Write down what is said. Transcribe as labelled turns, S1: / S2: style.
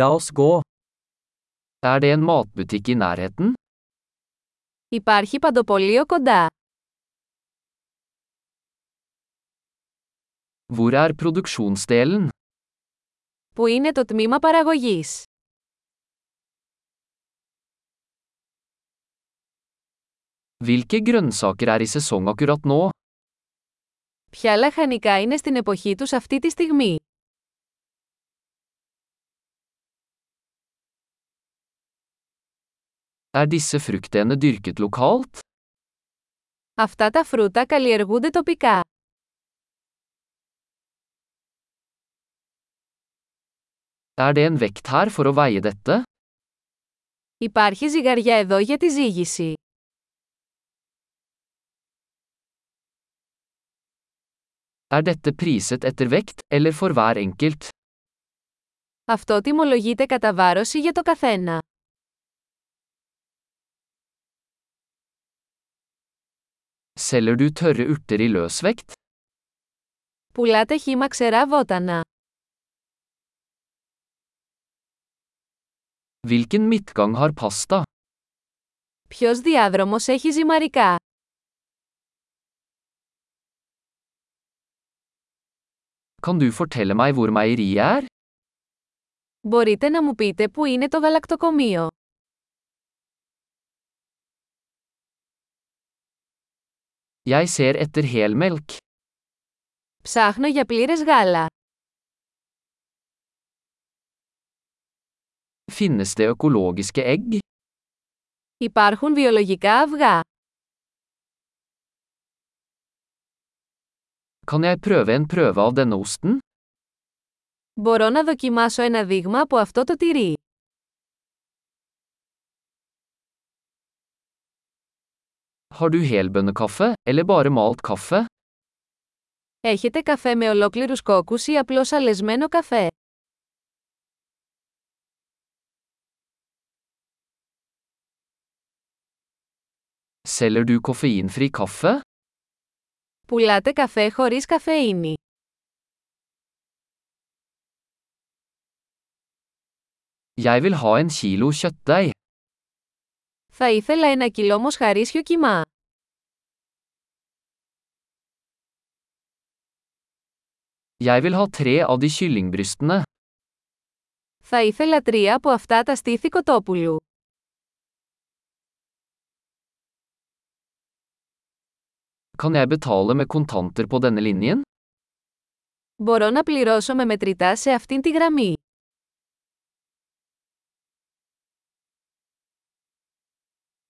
S1: La oss gå. Er det en matbutikk i nærheten?
S2: Υπάρχει παντοπολείο κοντά.
S1: Hvor er produksjonsdelen?
S2: Πού είναι το τμήμα παραγωγής.
S1: Hvilke grønnsaker er i sesong akkurat nå?
S2: Ποια λαχανικά είναι στην εποχή τους αυτή τη στιγμή.
S1: Er disse fruktene dyrket lokalt?
S2: Αυτά τα φρούτα καλλιεργούνται τοπικά.
S1: Er det en vekt her for å veie dette?
S2: Υπάρχει ζυγαριά εδώ για τη ζύγηση.
S1: Er dette priset etter vekt, eller for hver enkelt?
S2: Αυτό τιμολογείται κατά βάρωση για το καθένα.
S1: Selger du tørre urter i løsvekt?
S2: Πουλάτε χύμα ξερά βότανα.
S1: Hvilken midtgang har pasta?
S2: Ποιος διάδρομος έχει ζυμαρικά.
S1: Kan du fortelle meg hvor meieriet er?
S2: Μπορείτε να μου πείτε πού είναι το γαλακτοκομείο.
S1: Jeg ser etter helmelk.
S2: Ψάχνω για πλήρες γάλα.
S1: Finnes det økologiske egg?
S2: Υπάρχουν βιολογικά αυγά.
S1: Kan jeg prøve en prøve av denne osten?
S2: Μπορώ να δοκιμάσω ένα δείγμα από αυτό το τυρί.
S1: Har du helbønnekaffe, eller bare malt kaffe?
S2: Έχετε καφέ με ολόκληρους κόκκους ή απλώς αλεσμένο καφέ.
S1: Selger du koffeinfri kaffe?
S2: Πουλάτε καφέ χωρίς καφεΐνη.
S1: Jeg vil ha en kilo kjøttdeig.
S2: Θα ήθελα ένα κιλό μοσχαρίσιο κιμά.
S1: Jeg vil ha tre av de kyllingbrystene.
S2: Θα ήθελα τρία από αυτά τα στήθη κοτόπουλου.
S1: Kan jeg betale med kontanter på denne linjen?
S2: Μπορώ να πληρώσω με μετρητά σε αυτήν τη γραμμή.